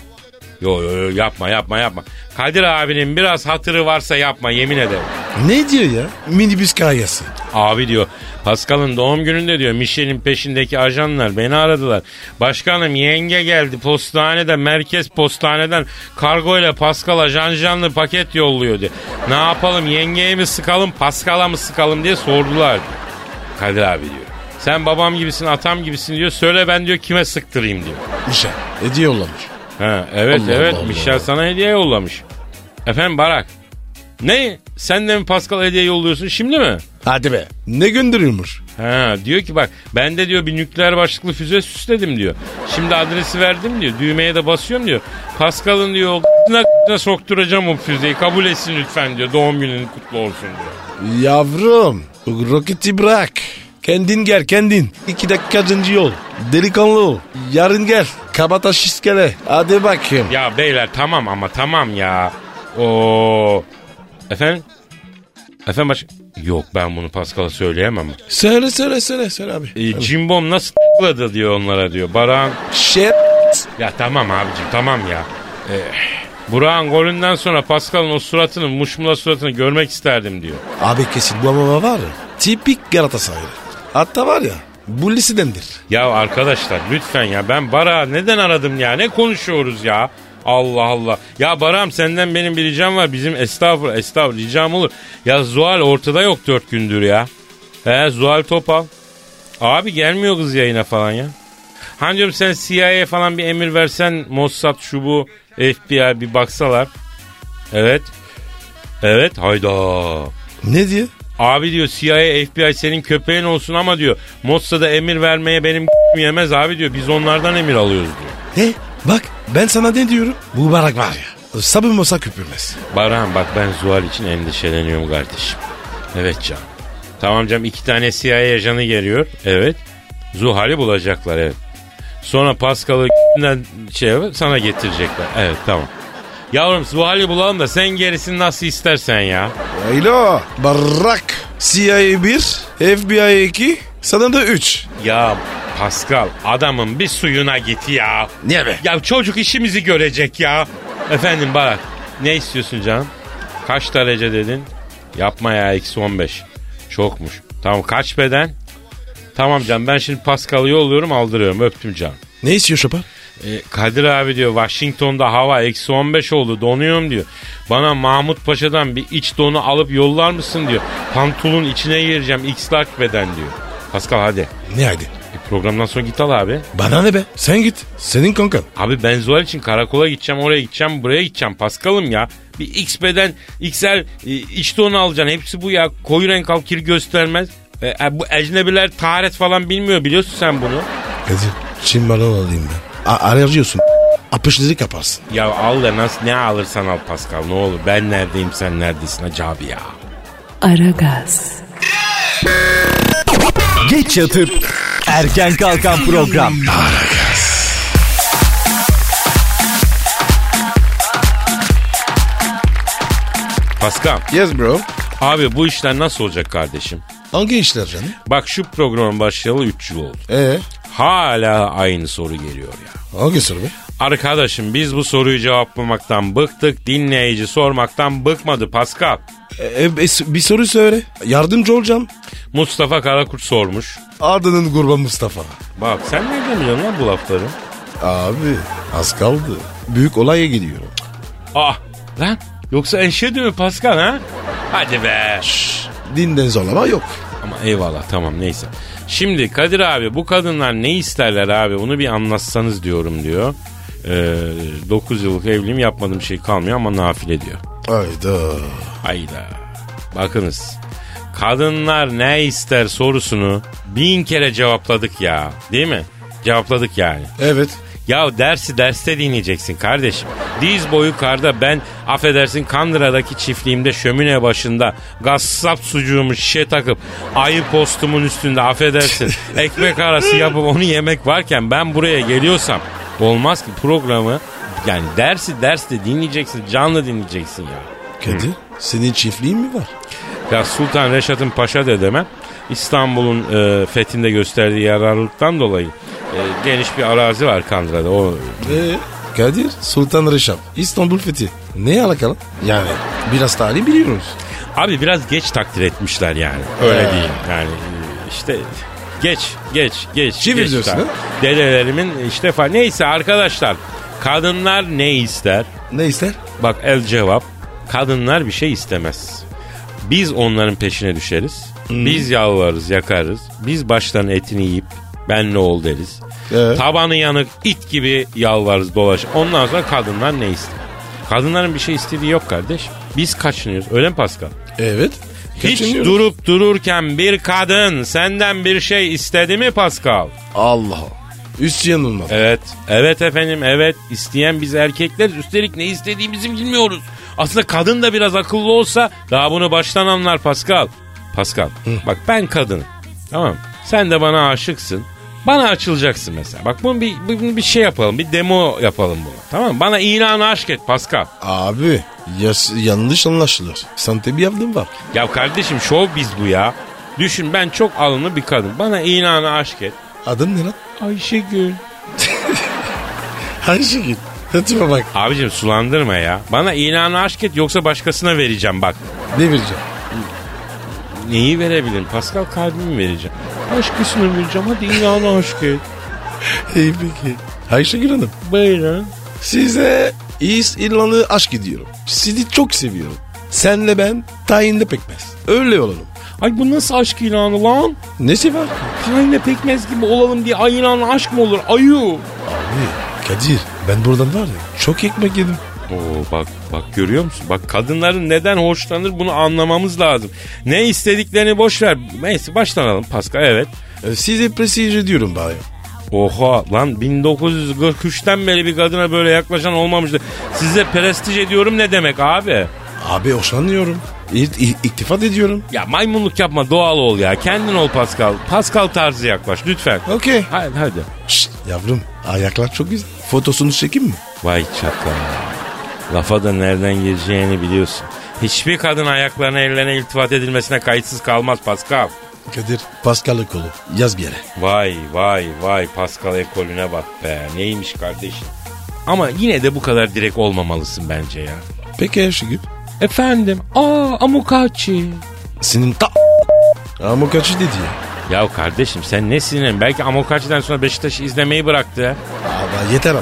Speaker 2: Yo, yo yo yapma yapma yapma. Kadir abinin biraz hatırı varsa yapma yemin ederim.
Speaker 3: Ne diyor ya? Minibüs kayası.
Speaker 2: Abi diyor Pascal'ın doğum gününde diyor Michel'in peşindeki ajanlar beni aradılar. Başkanım yenge geldi postanede merkez postaneden kargo ile Pascal'a janjanlı paket yolluyor diyor. Ne yapalım yengeye mi sıkalım Pascal'a mı sıkalım diye sordular. diyor. Kadir abi diyor. Sen babam gibisin atam gibisin diyor. Söyle ben diyor kime sıktırayım diyor.
Speaker 3: İşte. Hediye yollamış.
Speaker 2: Ha, evet
Speaker 3: Allah
Speaker 2: evet
Speaker 3: Allah
Speaker 2: Michel
Speaker 3: Allah.
Speaker 2: sana hediye yollamış. Efendim Barak. Ne? Sen de mi Pascal hediye yolluyorsun şimdi mi?
Speaker 3: Hadi be. Ne gönderiyormuş?
Speaker 2: Ha diyor ki bak ben de diyor bir nükleer başlıklı füze süsledim diyor. Şimdi adresi verdim diyor. Düğmeye de basıyorum diyor. Pascal'ın diyor o k***na sokturacağım o füzeyi. Kabul etsin lütfen diyor. Doğum günün kutlu olsun diyor.
Speaker 3: Yavrum. Roketi bırak. Kendin gel kendin. İki dakikacıncı yol. Delikanlı ol. Yarın gel. Kabataş iskele. Hadi bakayım.
Speaker 2: Ya beyler tamam ama tamam ya. Oo. Efendim? Efendim baş... Yok ben bunu Pascal'a söyleyemem.
Speaker 3: Söyle söyle söyle söyle abi.
Speaker 2: E, Cimbom nasıl k***ladı diyor onlara diyor. Baran
Speaker 3: Şey.
Speaker 2: Ya tamam abicim tamam ya. Eh, Burak'ın golünden sonra Pascal'ın o suratını, muşmula suratını görmek isterdim diyor.
Speaker 3: Abi kesin bu ama var ya. Tipik Galatasaraylı. Hatta var ya. Bu lisedendir.
Speaker 2: Ya arkadaşlar lütfen ya ben Barak'ı neden aradım ya? Ne konuşuyoruz ya? Allah Allah. Ya Barak'ım senden benim bir ricam var. Bizim estağfurullah estağfurullah ricam olur. Ya Zuhal ortada yok dört gündür ya. He Zuhal Topal. Abi gelmiyor kız yayına falan ya. Hani diyorum sen CIA'ye falan bir emir versen Mossad şu bu FBI bir baksalar. Evet. Evet hayda.
Speaker 3: Ne diyor?
Speaker 2: Abi diyor CIA FBI senin köpeğin olsun ama diyor Mossad'a emir vermeye benim yemez abi diyor. Biz onlardan emir alıyoruz diyor.
Speaker 3: He bak ben sana ne diyorum? Bu barak var ya. Sabun olsa küpürmez.
Speaker 2: Baran bak ben Zuhal için endişeleniyorum kardeşim. Evet canım. Tamam canım iki tane CIA ajanı geliyor. Evet. Zuhal'i bulacaklar evet. Sonra Pascal'ı şey yapıp sana getirecekler. Evet tamam. Yavrum Zuhal'i bulalım da sen gerisini nasıl istersen ya.
Speaker 3: Alo. Barak. CIA 1, FBI 2, sana da 3.
Speaker 2: Ya Pascal adamın bir suyuna git ya.
Speaker 3: Niye be?
Speaker 2: Ya çocuk işimizi görecek ya. Efendim bak ne istiyorsun canım? Kaç derece dedin? Yapma ya eksi 15. Çokmuş. Tamam kaç beden? Tamam canım ben şimdi Pascal'ı yolluyorum aldırıyorum öptüm canım.
Speaker 3: Ne istiyor şopar?
Speaker 2: E, Kadir abi diyor Washington'da hava eksi 15 oldu donuyorum diyor. Bana Mahmut Paşa'dan bir iç donu alıp yollar mısın diyor. Pantolon içine gireceğim x beden diyor. Pascal hadi.
Speaker 3: Ne hadi?
Speaker 2: E, programdan sonra git al abi.
Speaker 3: Bana ne be? Sen git. Senin kankan.
Speaker 2: Abi ben Zuhal için karakola gideceğim, oraya gideceğim, buraya gideceğim. Paskal'ım ya. Bir X beden, XL, e, iç donu alacaksın. Hepsi bu ya. Koyu renk al, kir göstermez. E, e, bu ecnebiler taharet falan bilmiyor biliyorsun sen bunu.
Speaker 3: Kadir. Çin balon alayım ben. A arıyorsun. Apışları kaparsın.
Speaker 2: Ya al da nasıl ne alırsan al Pascal ne olur. Ben neredeyim sen neredesin hacı abi ya.
Speaker 1: Aragaz,
Speaker 4: Geç yatıp erken kalkan program.
Speaker 2: Pascal
Speaker 3: Yes bro.
Speaker 2: abi bu işler nasıl olacak kardeşim?
Speaker 3: Hangi işler canım?
Speaker 2: Bak şu programın başlayalı 3 yıl oldu.
Speaker 3: Ee,
Speaker 2: Hala aynı soru geliyor ya.
Speaker 3: hangi soru be?
Speaker 2: Arkadaşım biz bu soruyu cevaplamaktan bıktık. Dinleyici sormaktan bıkmadı Pascal.
Speaker 3: E, e, bir soru söyle. Yardımcı olacağım.
Speaker 2: Mustafa Karakurt sormuş.
Speaker 3: Arda'nın kurban Mustafa.
Speaker 2: Bak sen nereden biliyorsun lan bu lafları?
Speaker 3: Abi az kaldı. Büyük olaya gidiyorum.
Speaker 2: Ah lan yoksa enşedi mi Pascal ha? Hadi be.
Speaker 3: Şşş, dinden zorlama yok.
Speaker 2: Ama eyvallah tamam neyse. Şimdi Kadir abi bu kadınlar ne isterler abi onu bir anlatsanız diyorum diyor. Ee, 9 yıllık evliliğim yapmadığım şey kalmıyor ama nafile diyor.
Speaker 3: Hayda.
Speaker 2: Hayda. Bakınız. Kadınlar ne ister sorusunu bin kere cevapladık ya. Değil mi? Cevapladık yani.
Speaker 3: Evet.
Speaker 2: Ya dersi derste dinleyeceksin kardeşim. Diz boyu karda ben affedersin Kandıra'daki çiftliğimde şömine başında gassap sucuğumu şişe takıp ayı postumun üstünde affedersin ekmek arası yapıp onu yemek varken ben buraya geliyorsam olmaz ki programı yani dersi derste dinleyeceksin canlı dinleyeceksin ya.
Speaker 3: Kadir senin çiftliğin mi var?
Speaker 2: Ya Sultan Reşat'ın paşa dedeme İstanbul'un e, fethinde gösterdiği yararlılıktan dolayı e, geniş bir arazi var Kandıra'da. O
Speaker 3: Ee, Kadir Sultan Reşat İstanbul fethi. Neye alakalı? Yani biraz tarih biliyoruz.
Speaker 2: Abi biraz geç takdir etmişler yani. Öyle
Speaker 3: Ee.
Speaker 2: değil. Yani e, işte geç geç geç.
Speaker 3: Çevir
Speaker 2: geç
Speaker 3: diyorsun,
Speaker 2: tak-
Speaker 3: ha?
Speaker 2: Dedelerimin işte falan. Neyse arkadaşlar kadınlar ne ister?
Speaker 3: Ne ister?
Speaker 2: Bak el cevap. Kadınlar bir şey istemez. Biz onların peşine düşeriz. Biz yalvarırız, yakarız. Biz baştan etini yiyip benle ol deriz.
Speaker 3: Ee?
Speaker 2: Tabanı yanık it gibi yalvarırız dolaş. Ondan sonra kadınlar ne ister? Kadınların bir şey istediği yok kardeş. Biz kaçınıyoruz. Öyle mi Pascal?
Speaker 3: Evet.
Speaker 2: Hiç
Speaker 3: Kaçınıyorum.
Speaker 2: durup dururken bir kadın senden bir şey istedi mi Pascal?
Speaker 3: Allah. Üst yanılmaz.
Speaker 2: Evet. Evet efendim evet. İsteyen biz erkekler üstelik ne istediğimizi bilmiyoruz. Aslında kadın da biraz akıllı olsa daha bunu baştan anlar Pascal. Pascal bak ben kadınım. Tamam mı? Sen de bana aşıksın. Bana açılacaksın mesela. Bak bunu bir, bunu bir şey yapalım. Bir demo yapalım bunu. Tamam mı? Bana ilanı aşk et Pascal.
Speaker 3: Abi yas- yanlış anlaşılır. Sante bir yardım var.
Speaker 2: Ya kardeşim şov biz bu ya. Düşün ben çok alımlı bir kadın. Bana ilanı aşk et.
Speaker 3: Adın ne lan?
Speaker 2: Ayşegül.
Speaker 3: Hangi şekil? Hatime şey bak.
Speaker 2: Abicim sulandırma ya. Bana ilanı aşk et yoksa başkasına vereceğim bak.
Speaker 3: Ne vereceğim?
Speaker 2: Neyi verebilirim? Pascal kalbimi vereceğim. Aşkısını vereceğim. Hadi ilanı aşk et.
Speaker 3: İyi peki. Ayşegül Hanım.
Speaker 2: Buyurun.
Speaker 3: Size İz İrlan'ı aşk ediyorum. Sizi çok seviyorum. Senle ben tayinde pekmez. Öyle olalım.
Speaker 2: Ay bu nasıl aşk ilanı lan?
Speaker 3: Nesi var?
Speaker 2: Tahinle pekmez gibi olalım diye ay ilanı aşk mı olur? Ayu.
Speaker 3: Abi Kadir ben buradan var ya çok ekmek yedim.
Speaker 2: Oo bak bak görüyor musun? Bak kadınların neden hoşlanır bunu anlamamız lazım. Ne istediklerini boş ver. Neyse başlanalım Pascal evet.
Speaker 3: E, Sizi presij ediyorum bari.
Speaker 2: Oha lan 1943'ten beri bir kadına böyle yaklaşan olmamıştı. Size prestij ediyorum ne demek abi?
Speaker 3: Abi hoşlanıyorum. İ- i- İktifat ediyorum.
Speaker 2: Ya maymunluk yapma doğal ol ya. Kendin ol Pascal. Pascal tarzı yaklaş lütfen.
Speaker 3: Okey.
Speaker 2: Hadi hadi.
Speaker 3: Şşt, yavrum ayaklar çok güzel. Fotosunu çekeyim mi?
Speaker 2: Vay çakal. Lafa da nereden gireceğini biliyorsun. Hiçbir kadın ayaklarına ellerine iltifat edilmesine kayıtsız kalmaz Pascal.
Speaker 3: Kadir Pascal kolu yaz bir yere.
Speaker 2: Vay vay vay Pascal ekolüne bak be. Neymiş kardeşim. Ama yine de bu kadar direkt olmamalısın bence ya.
Speaker 3: Peki şey Erşigül.
Speaker 2: Efendim? Aa amokachi.
Speaker 3: Senin ta... Ama kaçı dedi ya.
Speaker 2: Ya kardeşim sen ne sinirin? Belki amokachi'den sonra Beşiktaş'ı izlemeyi bıraktı.
Speaker 3: Abi yeter ama.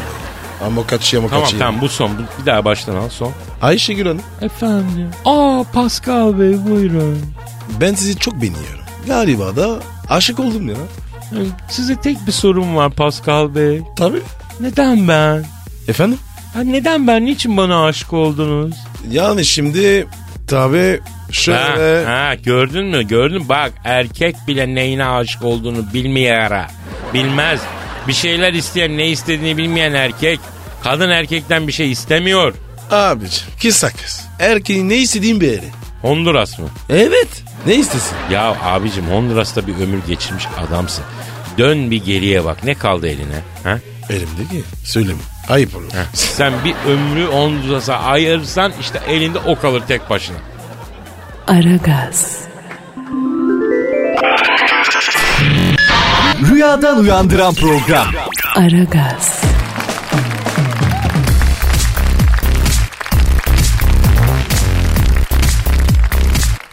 Speaker 3: Ama kaçı ama
Speaker 2: Tamam
Speaker 3: kaçı.
Speaker 2: tamam bu son. Bu- Bir daha baştan al son.
Speaker 3: Ayşegül Hanım
Speaker 2: Efendim? Aa Pascal Bey buyurun.
Speaker 3: ben sizi çok beğeniyorum. Galiba da aşık oldum ya.
Speaker 2: Size tek bir sorum var Pascal Bey.
Speaker 3: Tabii.
Speaker 2: Neden ben?
Speaker 3: Efendim?
Speaker 2: Ha, neden ben? Niçin bana aşık oldunuz?
Speaker 3: Yani şimdi tabii
Speaker 2: Ha,
Speaker 3: şöyle...
Speaker 2: ha, gördün mü? Gördün mü? Bak erkek bile neyine aşık olduğunu bilmeyara. Bilmez. Bir şeyler isteyen ne istediğini bilmeyen erkek. Kadın erkekten bir şey istemiyor.
Speaker 3: Abicim kısa kız. Erkeğin ne istediğin bir yeri.
Speaker 2: Honduras mı?
Speaker 3: Evet. Ne istesin?
Speaker 2: Ya abicim Honduras'ta bir ömür geçirmiş adamsın. Dön bir geriye bak. Ne kaldı eline? Ha?
Speaker 3: Elimde ki. Söyleme. Ayıp olur.
Speaker 2: Ha, Sen bir ömrü Honduras'a ayırsan işte elinde o kalır tek başına.
Speaker 1: Aragaz,
Speaker 4: Rüyadan uyandıran program.
Speaker 1: Aragaz,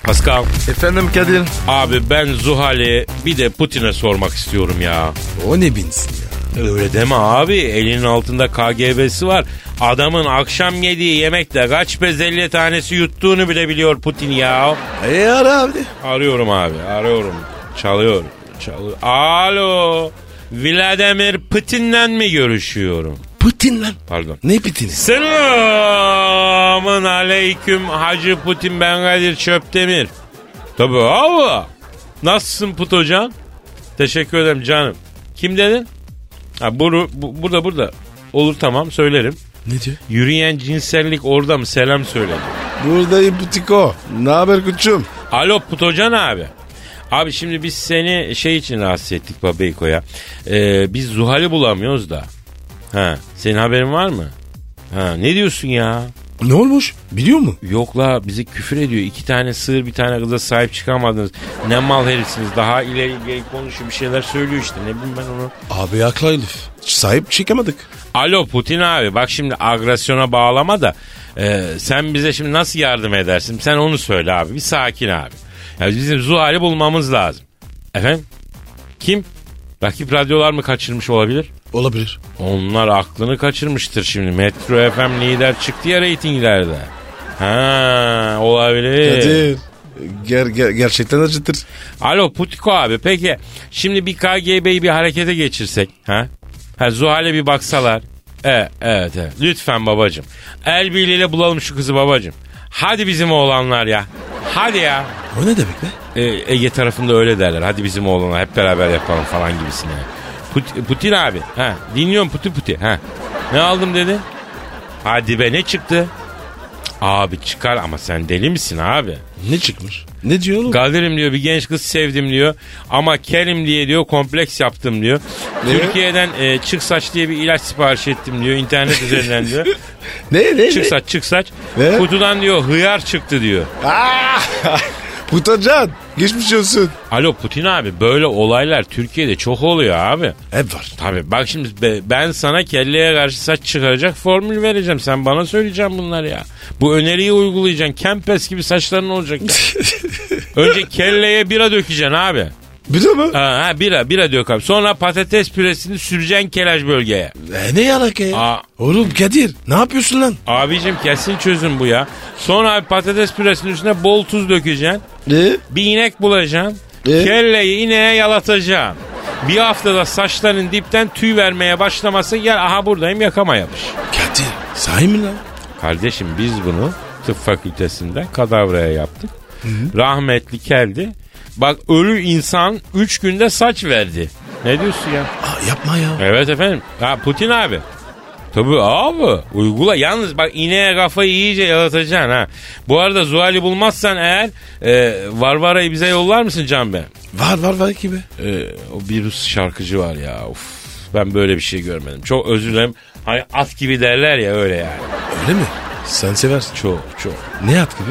Speaker 2: Pascal
Speaker 3: Efendim Kadir.
Speaker 2: abi ben Zuhal'i bir de Putin'e sormak istiyorum ya.
Speaker 3: O ne binsin ya?
Speaker 2: Öyle deme abi. Elinin altında KGB'si var. Adamın akşam yediği yemekte kaç bezelye tanesi yuttuğunu bile biliyor Putin ya.
Speaker 3: E ara abi.
Speaker 2: Arıyorum abi, arıyorum. Çalıyor, çalıyor. Alo, Vladimir Putin'le mi görüşüyorum?
Speaker 3: Putin lan.
Speaker 2: Pardon.
Speaker 3: Ne Putin'i?
Speaker 2: Selamun aleyküm Hacı Putin ben Kadir Çöptemir. Tabii abi. Nasılsın Put hocam? Teşekkür ederim canım. Kim dedin? Ha, buru, bu- burada burada. Olur tamam söylerim.
Speaker 3: Ne diyor?
Speaker 2: Yürüyen cinsellik orada mı? Selam söyle.
Speaker 3: Buradayım Putiko. Ne haber koçum?
Speaker 2: Alo Putocan abi. Abi şimdi biz seni şey için rahatsız ettik Babeyko'ya. Ee, biz Zuhal'i bulamıyoruz da. Ha, senin haberin var mı? Ha, ne diyorsun ya?
Speaker 3: Ne olmuş? Biliyor mu?
Speaker 2: Yok la bizi küfür ediyor. İki tane sığır bir tane kıza sahip çıkamadınız. Ne mal herifsiniz. Daha ileri geri konuşuyor bir şeyler söylüyor işte. Ne bileyim ben onu.
Speaker 3: Abi haklı Elif. Sahip çıkamadık.
Speaker 2: Alo Putin abi bak şimdi agresyona bağlama da e, sen bize şimdi nasıl yardım edersin? Sen onu söyle abi bir sakin abi. Ya bizim Zuhal'i bulmamız lazım. Efendim? Kim? Rakip radyolar mı kaçırmış olabilir?
Speaker 3: Olabilir.
Speaker 2: Onlar aklını kaçırmıştır şimdi. Metro FM lider çıktı ya reytinglerde. Ha olabilir.
Speaker 3: Kadir. Ger, ger- gerçekten acıtır.
Speaker 2: Alo Putiko abi peki şimdi bir KGB'yi bir harekete geçirsek ha? ha Zuhal'e bir baksalar. E, evet evet lütfen babacım. El birliğiyle bulalım şu kızı babacım. Hadi bizim oğlanlar ya. Hadi ya.
Speaker 3: O ne demek be?
Speaker 2: E, Ege tarafında öyle derler. Hadi bizim oğlanlar hep beraber yapalım falan gibisine. Put- Putin abi. Ha, dinliyorum Puti Puti. Ha. Ne aldım dedi? Hadi be ne çıktı? Abi çıkar ama sen deli misin abi?
Speaker 3: Ne çıkmış? Ne diyor oğlum?
Speaker 2: Kadir'im diyor bir genç kız sevdim diyor. Ama Kerim diye diyor kompleks yaptım diyor.
Speaker 3: Ne?
Speaker 2: Türkiye'den e, çık saç diye bir ilaç sipariş ettim diyor. internet üzerinden diyor.
Speaker 3: ne ne?
Speaker 2: çık saç çık saç.
Speaker 3: Ne?
Speaker 2: Kutudan diyor hıyar çıktı diyor.
Speaker 3: Putacan. Ah! Geçmiş olsun.
Speaker 2: Alo Putin abi böyle olaylar Türkiye'de çok oluyor abi.
Speaker 3: Hep var.
Speaker 2: Tabii bak şimdi be- ben sana kelleye karşı saç çıkaracak formül vereceğim. Sen bana söyleyeceksin bunları ya. Bu öneriyi uygulayacaksın. Kempes gibi saçların olacak. ya. Önce kelleye bira dökeceksin abi.
Speaker 3: Bir de mi?
Speaker 2: Ha, ha bira bira diyor abi. Sonra patates püresini süreceksin kelaj bölgeye.
Speaker 3: E, ne alaka ya?
Speaker 2: Aa.
Speaker 3: Oğlum Kadir ne yapıyorsun lan?
Speaker 2: Abicim kesin çözüm bu ya. Sonra abi patates püresinin üstüne bol tuz dökeceksin.
Speaker 3: Ne?
Speaker 2: Bir inek bulacaksın.
Speaker 3: Ee?
Speaker 2: Kelleyi ineğe yalatacaksın. Bir haftada saçların dipten tüy vermeye başlaması gel aha buradayım yakama yapış.
Speaker 3: Kadir sahi mi lan?
Speaker 2: Kardeşim biz bunu tıp fakültesinde kadavraya yaptık. Rahmetli keldi. Bak ölü insan 3 günde saç verdi. Ne diyorsun ya?
Speaker 3: Aa, yapma ya.
Speaker 2: Evet efendim. Ha Putin abi. Tabii abi. Uygula. Yalnız bak ineğe kafayı iyice yalatacaksın ha. Bu arada Zuhal'i bulmazsan eğer e, Varvara'yı bize yollar mısın Can Bey?
Speaker 3: Var var var gibi.
Speaker 2: E, o bir Rus şarkıcı var ya. Uf. Ben böyle bir şey görmedim. Çok özür dilerim. Hani at gibi derler ya öyle yani.
Speaker 3: Öyle mi? Sen seversin.
Speaker 2: Çok çok.
Speaker 3: Ne at gibi?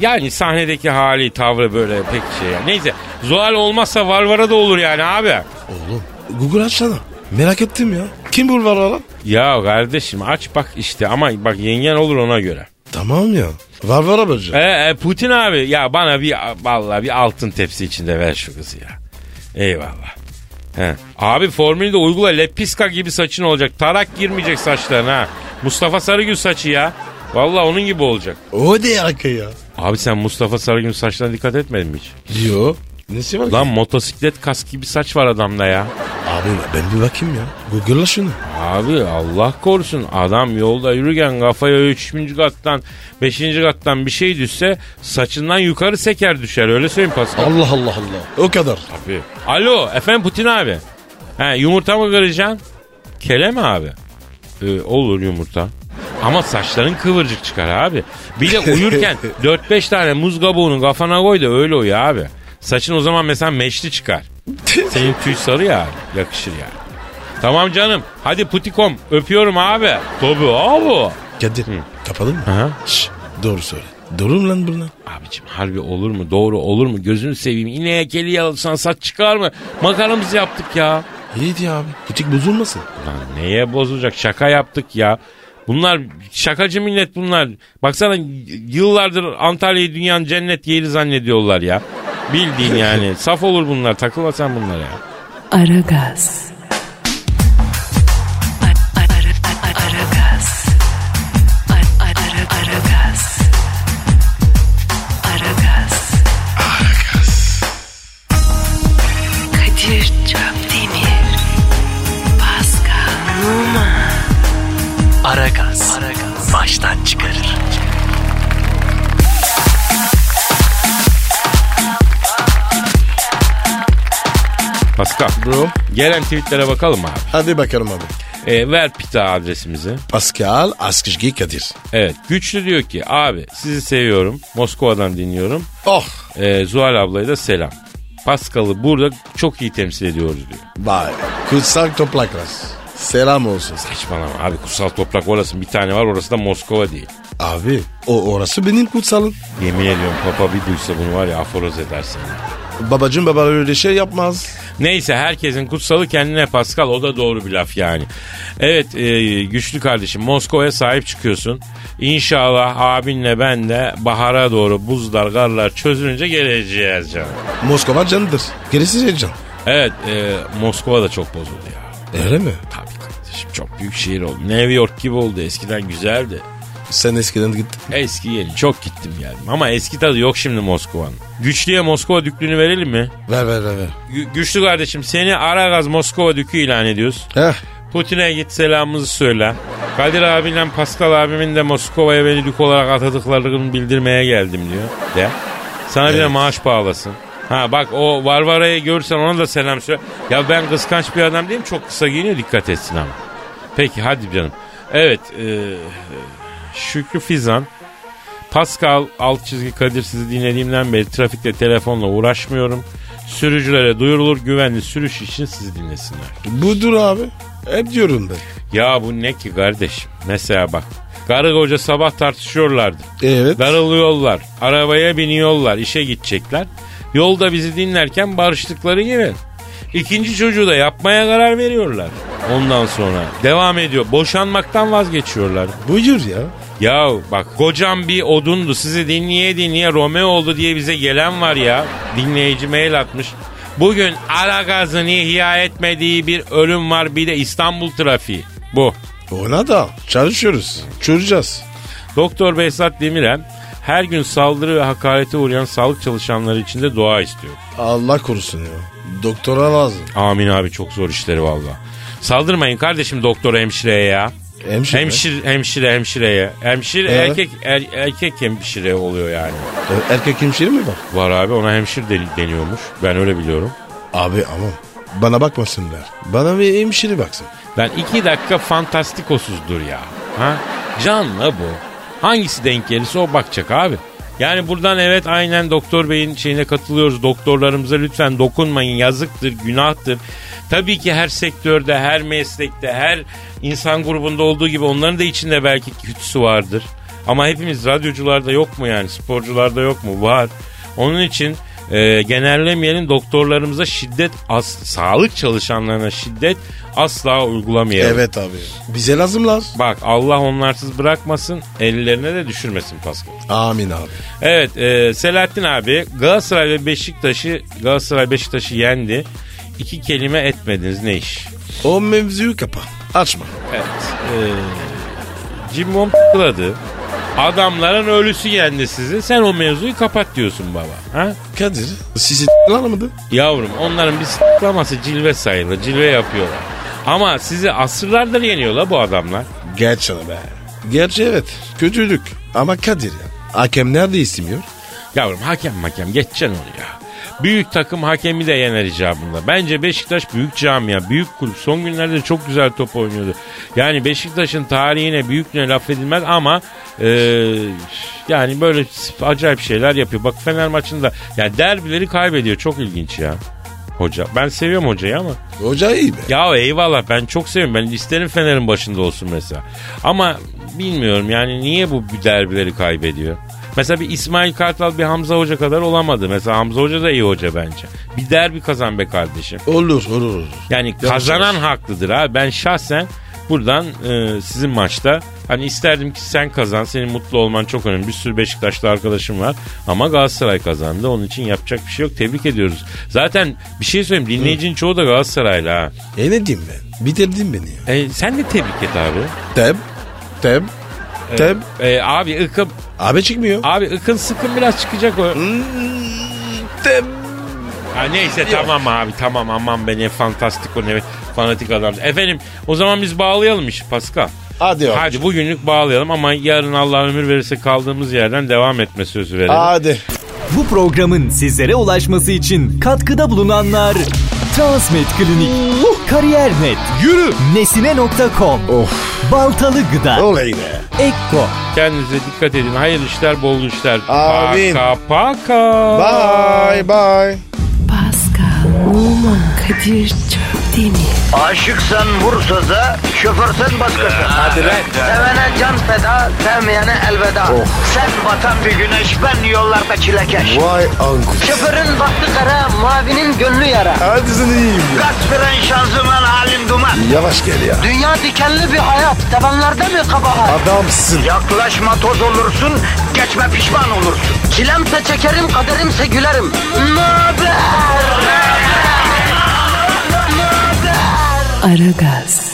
Speaker 2: Yani sahnedeki hali, tavrı böyle pek şey. Yani. Neyse Zuhal olmazsa Varvara da olur yani abi.
Speaker 3: Oğlum Google açsana. Merak ettim ya. Kim bu var lan?
Speaker 2: Ya kardeşim aç bak işte ama bak yengen olur ona göre.
Speaker 3: Tamam ya. Var var abacı.
Speaker 2: Ee, e, Putin abi ya bana bir vallahi bir altın tepsi içinde ver şu kızı ya. Eyvallah. He. Abi formülü de uygula lepiska gibi saçın olacak. Tarak girmeyecek saçlarına. ha. Mustafa Sarıgül saçı ya. Vallahi onun gibi olacak.
Speaker 3: O ne alaka ya?
Speaker 2: Abi sen Mustafa Sarıgül saçlarına dikkat etmedin mi hiç?
Speaker 3: Yo. Nesi var?
Speaker 2: Lan motosiklet kask gibi saç var adamda ya.
Speaker 3: Abi ben bir bakayım ya. Google'la şunu.
Speaker 2: Abi Allah korusun adam yolda yürürken kafaya 3. kattan 5. kattan bir şey düşse saçından yukarı seker düşer öyle söyleyeyim Pascal.
Speaker 3: Allah Allah Allah. O kadar.
Speaker 2: Abi. Alo efendim Putin abi. He, yumurta mı kıracaksın? Kele mi abi? Ee, olur yumurta. Ama saçların kıvırcık çıkar abi. Bir de uyurken 4-5 tane muz kabuğunu kafana koy da öyle uyu abi. Saçın o zaman mesela meşli çıkar. Senin tüy sarı ya abi. Yakışır yani. Tamam canım. Hadi putikom. Öpüyorum abi. Tabii abi.
Speaker 3: Kadir. Kapadın mı?
Speaker 2: Aha.
Speaker 3: Şş, doğru söyle. Doğru mu lan bunlar?
Speaker 2: Abicim harbi olur mu? Doğru olur mu? Gözünü seveyim. İneğe keli yalırsan saç çıkar mı? Makaramızı yaptık ya.
Speaker 3: İyi diye abi. Butik bozulmasın.
Speaker 2: Lan neye bozulacak? Şaka yaptık ya. Bunlar şakacı millet bunlar. Baksana yıllardır Antalya'yı dünyanın cennet yeri zannediyorlar ya. Bildiğin yani. Saf olur bunlar. Takılma sen bunlara ya.
Speaker 1: Aragaz. Aragaz. Aragaz. Aragaz. Kadir Çöptemir. Pascal Numa.
Speaker 5: Aragaz. Baştan çıkarır.
Speaker 2: Pascal.
Speaker 3: Bro.
Speaker 2: Gelen tweetlere bakalım abi.
Speaker 3: Hadi bakalım abi.
Speaker 2: E, ver pita adresimizi.
Speaker 3: Pascal Askışgi Kadir.
Speaker 2: Evet. Güçlü diyor ki abi sizi seviyorum. Moskova'dan dinliyorum.
Speaker 3: Oh.
Speaker 2: E, Zuhal ablaya da selam. Pascal'ı burada çok iyi temsil ediyoruz diyor.
Speaker 3: Vay. Kutsal topraklar. Selam olsun.
Speaker 2: Saçmalama abi kutsal toprak orası bir tane var orası da Moskova değil.
Speaker 3: Abi o orası benim kutsalım.
Speaker 2: Yemin ediyorum papa bir duysa bunu var ya aforoz edersin.
Speaker 3: Babacım baba öyle şey yapmaz.
Speaker 2: Neyse herkesin kutsalı kendine Pascal o da doğru bir laf yani. Evet e, güçlü kardeşim Moskova'ya sahip çıkıyorsun. İnşallah abinle ben de bahara doğru buzlar karlar çözülünce geleceğiz canım.
Speaker 3: Moskova canıdır. Gerisi şey can.
Speaker 2: Evet e, Moskova da çok bozuldu ya.
Speaker 3: Öyle mi?
Speaker 2: Tabii kardeşim çok büyük şehir oldu. New York gibi oldu eskiden güzeldi.
Speaker 3: Sen eskiden gittin.
Speaker 2: Eski yeni çok gittim geldim ama eski tadı yok şimdi Moskova'nın. Güçlüye Moskova düklünü verelim mi?
Speaker 3: Ver ver ver. ver.
Speaker 2: Gü- Güçlü kardeşim seni Aragaz Moskova dükü ilan ediyoruz.
Speaker 3: Heh.
Speaker 2: Putin'e git selamımızı söyle. Kadir abimle Pascal abimin de Moskova'ya beni dük olarak atadıklarını bildirmeye geldim diyor. De. Sana bir de maaş bağlasın. Ha bak o Varvara'yı görürsen ona da selam söyle. Ya ben kıskanç bir adam değilim çok kısa giyiniyor dikkat etsin ama. Peki hadi canım. Evet e, Şükrü Fizan. Pascal alt çizgi Kadir sizi dinlediğimden beri trafikte telefonla uğraşmıyorum. Sürücülere duyurulur güvenli sürüş için sizi dinlesinler.
Speaker 3: Budur abi. Hep diyorum ben.
Speaker 2: Ya bu ne ki kardeşim? Mesela bak. Karı koca sabah tartışıyorlardı.
Speaker 3: Evet.
Speaker 2: Darılıyorlar. Arabaya biniyorlar. işe gidecekler. Yolda bizi dinlerken barıştıkları gibi. İkinci çocuğu da yapmaya karar veriyorlar. Ondan sonra devam ediyor. Boşanmaktan vazgeçiyorlar.
Speaker 3: Buyur ya.
Speaker 2: Ya bak kocam bir odundu sizi dinleye dinleye Romeo oldu diye bize gelen var ya. Dinleyici mail atmış. Bugün Aragaz'ın ihya etmediği bir ölüm var bir de İstanbul trafiği. Bu.
Speaker 3: Ona da çalışıyoruz. Çözeceğiz.
Speaker 2: Doktor Behzat Demirel her gün saldırı ve hakarete uğrayan sağlık çalışanları için de dua istiyor.
Speaker 3: Allah korusun ya. Doktora lazım.
Speaker 2: Amin abi çok zor işleri valla. Saldırmayın kardeşim doktora hemşireye ya.
Speaker 3: Hemşire.
Speaker 2: Hemşire, hemşire, hemşireye. Hemşire
Speaker 3: Evet.
Speaker 2: erkek er- erkek hemşire oluyor yani.
Speaker 3: E, Erkek hemşire mi var?
Speaker 2: Var abi ona hemşire deni- deniyormuş. Ben öyle biliyorum.
Speaker 3: Abi ama bana bakmasınlar. Bana bir hemşire baksın.
Speaker 2: Ben iki dakika fantastikosuzdur ya. Ha? Canla bu. Hangisi denk gelirse o bakacak abi. Yani buradan evet aynen doktor beyin şeyine katılıyoruz. Doktorlarımıza lütfen dokunmayın. Yazıktır, günahtır. Tabii ki her sektörde, her meslekte, her insan grubunda olduğu gibi onların da içinde belki kötüsü vardır. Ama hepimiz radyocularda yok mu yani sporcularda yok mu? Var. Onun için e, genellemeyelim doktorlarımıza şiddet as, sağlık çalışanlarına şiddet asla uygulamayalım.
Speaker 3: Evet abi. Bize lazımlar.
Speaker 2: Bak Allah onlarsız bırakmasın ellerine de düşürmesin Pascal.
Speaker 3: Amin abi.
Speaker 2: Evet e, Selahattin abi Galatasaray ve Beşiktaş'ı Galatasaray Beşiktaş'ı yendi. İki kelime etmediniz ne iş?
Speaker 3: O mevzuyu kapa. Açma.
Speaker 2: Evet. E, Jim Mom ***ladı. Adamların ölüsü yendi sizi. Sen o mevzuyu kapat diyorsun baba. Ha?
Speaker 3: Kadir sizi alamadı.
Speaker 2: Yavrum onların bir s**laması cilve sayılır. Cilve yapıyorlar. Ama sizi asırlardır yeniyor la bu adamlar.
Speaker 3: Geç sana be. Gerçi evet. Kötülük. Ama Kadir ya. Hakemler de istemiyor.
Speaker 2: Yavrum hakem hakem geçeceksin onu ya. Büyük takım hakemi de yener icabında. Bence Beşiktaş büyük camia, büyük kulüp. Son günlerde çok güzel top oynuyordu. Yani Beşiktaş'ın tarihine büyüküne laf edilmez ama e, yani böyle acayip şeyler yapıyor. Bak Fener maçında ya derbileri kaybediyor. Çok ilginç ya. Hoca. Ben seviyorum hocayı ama.
Speaker 3: Hoca iyi be.
Speaker 2: Ya eyvallah ben çok seviyorum. Ben isterim Fener'in başında olsun mesela. Ama bilmiyorum yani niye bu derbileri kaybediyor? Mesela bir İsmail Kartal bir Hamza Hoca kadar olamadı. Mesela Hamza Hoca da iyi hoca bence. Bir derbi kazan be kardeşim.
Speaker 3: Olur olur olur.
Speaker 2: Yani kazanan haklıdır abi. Ben şahsen buradan e, sizin maçta hani isterdim ki sen kazan. Senin mutlu olman çok önemli. Bir sürü Beşiktaşlı arkadaşım var ama Galatasaray kazandı. Onun için yapacak bir şey yok. Tebrik ediyoruz. Zaten bir şey söyleyeyim. Dinleyicinin çoğu da Galatasaraylı ha.
Speaker 3: E ne diyeyim ben? Bitirdin beni ya.
Speaker 2: E, sen de tebrik et abi.
Speaker 3: Tem. Tem. Tem.
Speaker 2: E, abi ıkın
Speaker 3: Abi çıkmıyor.
Speaker 2: abi ıkın sıkın biraz çıkacak o.
Speaker 3: Tem.
Speaker 2: Ha neyse tamam abi tamam aman be ne fantastik o ne fanatik adam. Efendim o zaman biz bağlayalım işi Pascal.
Speaker 3: Hadi abi.
Speaker 2: Hadi bugünlük bağlayalım ama yarın Allah ömür verirse kaldığımız yerden devam etme sözü verelim.
Speaker 3: Hadi.
Speaker 4: Bu programın sizlere ulaşması için katkıda bulunanlar Transmed Klinik, Kariyer.net,
Speaker 3: Yürü.
Speaker 4: Nesine.com,
Speaker 3: Of.
Speaker 4: Baltalı Gıda,
Speaker 3: Olay be.
Speaker 4: Ekko.
Speaker 2: Kendinize dikkat edin. Hayırlı işler, bol işler.
Speaker 3: Amin.
Speaker 2: Paka paka.
Speaker 3: Bye bye.
Speaker 1: Pascal, Oman, Kadir çok değil mi?
Speaker 5: Aşıksan vursa da, şoförsen başkasın. Hadi lan. Oh. Sevene can feda, sevmeyene elveda. Sen batan bir güneş, ben yollarda çilekeş.
Speaker 3: Vay anku.
Speaker 5: Şoförün baktı kara, mavinin gönlü yara.
Speaker 3: Hadi sen iyiyim ya.
Speaker 5: Kasperen şanzıman halin duman.
Speaker 3: Yavaş gel ya.
Speaker 5: Dünya dikenli bir hayat, sevenlerde mi kabahar?
Speaker 3: Adamsın.
Speaker 5: Yaklaşma toz olursun, geçme pişman olursun. Çilemse çekerim, kaderimse gülerim. Möber!
Speaker 1: Aragaz.